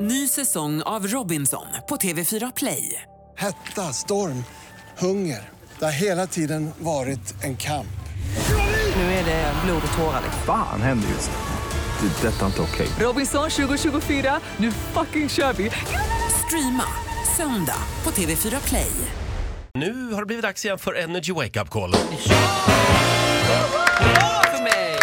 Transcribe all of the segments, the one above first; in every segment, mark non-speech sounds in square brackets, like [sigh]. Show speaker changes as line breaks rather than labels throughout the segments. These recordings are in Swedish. Ny säsong av Robinson på TV4 Play.
Hetta, storm, hunger. Det har hela tiden varit en kamp.
Nu är det blod och tårar. liksom.
Fan händer just nu. Det. är Detta är inte okej.
Robinson 2024, nu fucking kör vi! Streama söndag på TV4 Play.
Nu har det blivit dags igen för Energy Wake Up Call.
för mig.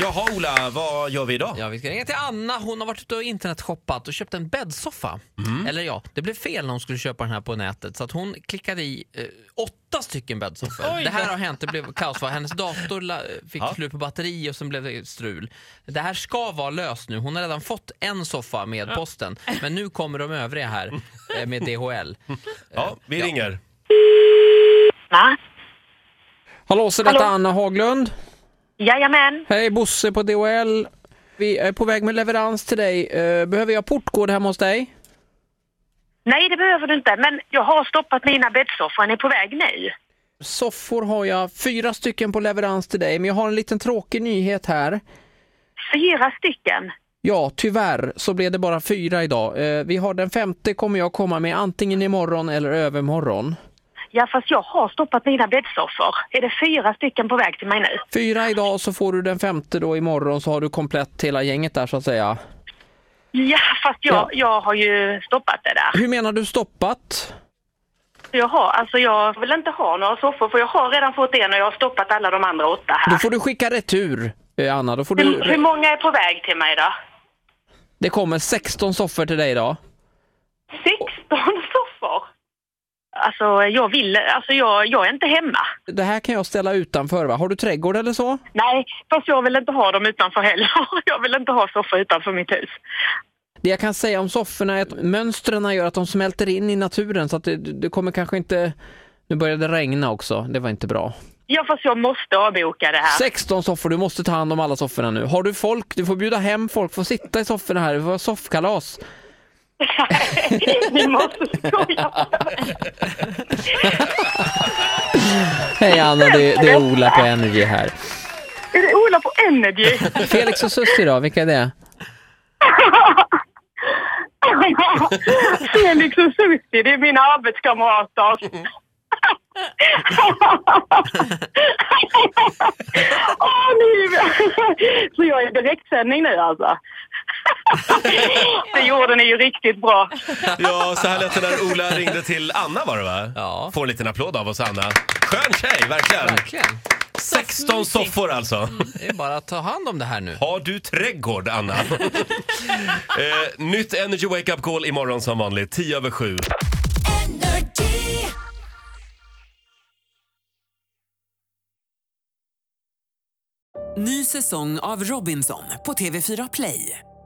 Jaha Ola, vad gör vi idag?
Ja, vi ska ringa till Anna. Hon har varit ute och internetshoppat och köpt en bäddsoffa. Eller ja, det blev fel när hon skulle köpa den här på nätet så att hon klickade i eh, åtta stycken bäddsoffor. Det här har hänt, det blev kaos. va? Hennes dator la, eh, fick
Ja.
slut på batteri och sen blev det strul. Det här ska vara löst nu. Hon har redan fått en soffa med posten men nu kommer de övriga här eh, med DHL.
Ja, vi ringer.
Va?
[laughs] Hallå, så detta
Hallå.
Anna Haglund.
Jajamän.
Hej, Bosse på DHL. Vi är på väg med leverans till dig. Eh, Behöver jag portkod hemma hos dig?
Nej, det behöver du inte. Men jag har stoppat mina bäddsoffor. Ni är på väg nu.
Soffor har jag fyra stycken på leverans till dig, men jag har en liten tråkig nyhet här.
Fyra stycken.
Ja, tyvärr så blev det bara fyra idag. Eh, Vi har den femte kommer jag komma med antingen imorgon eller övermorgon.
Ja, fast jag har stoppat mina bäddsoffor. Är det fyra stycken på väg till mig nu?
Fyra idag så får du den femte då imorgon så har du komplett hela gänget där så att säga.
Ja, fast jag,
Ja.
jag har ju stoppat det där.
Hur menar du stoppat?
Jag har, alltså jag vill inte ha några soffor för jag har redan fått en och jag har stoppat alla de andra åtta
Då
här.
får du skicka retur, eh, Anna. Då får
Hur, hur
du...
många är på väg till mig då?
Det kommer 16 soffor till dig idag.
16 [laughs] soffor? Alltså jag vill, alltså jag, jag är inte hemma.
Det här kan jag ställa utanför va? Har du trädgård eller så?
Nej, fast jag vill inte ha dem utanför heller. [laughs] Jag vill inte ha soffor utanför mitt hus.
Det jag kan säga om sofforna är att mönstren gör att de smälter in i naturen så att det, det kommer kanske inte... Nu började det regna också, det var inte bra.
Ja, fast jag måste avboka det [laughs] här.
16 soffor, du måste ta hand om alla sofforna nu. Har du folk, du får bjuda hem folk, får sitta i sofforna här, det får vara soffkalas.
Ni måste skoja.
Hej Anna, det, det är Ola på Energy här.
Är det Ola på Energy? [laughs]
Felix och Susie då, vilka är det?
Felix och Susie, liksom det är mina arbetskamrater. [laughs] Åh, ni... Så jag är i direktsändning nu alltså. [laughs] Det gjorde ni ju riktigt bra.
Ja, så här lät det när Ola ringde till Anna var det va?
Ja.
Får en liten applåd av oss Anna. Skön tjej, verkligen.
Verkligen.
16 soffor alltså.
Det är bara att ta hand om det här nu.
Har du trädgård
[laughs]
Anna? eh, nytt Energy Wake Up Call imorgon som vanligt, 10 över 7.
Ny säsong av Robinson på TV4 Play.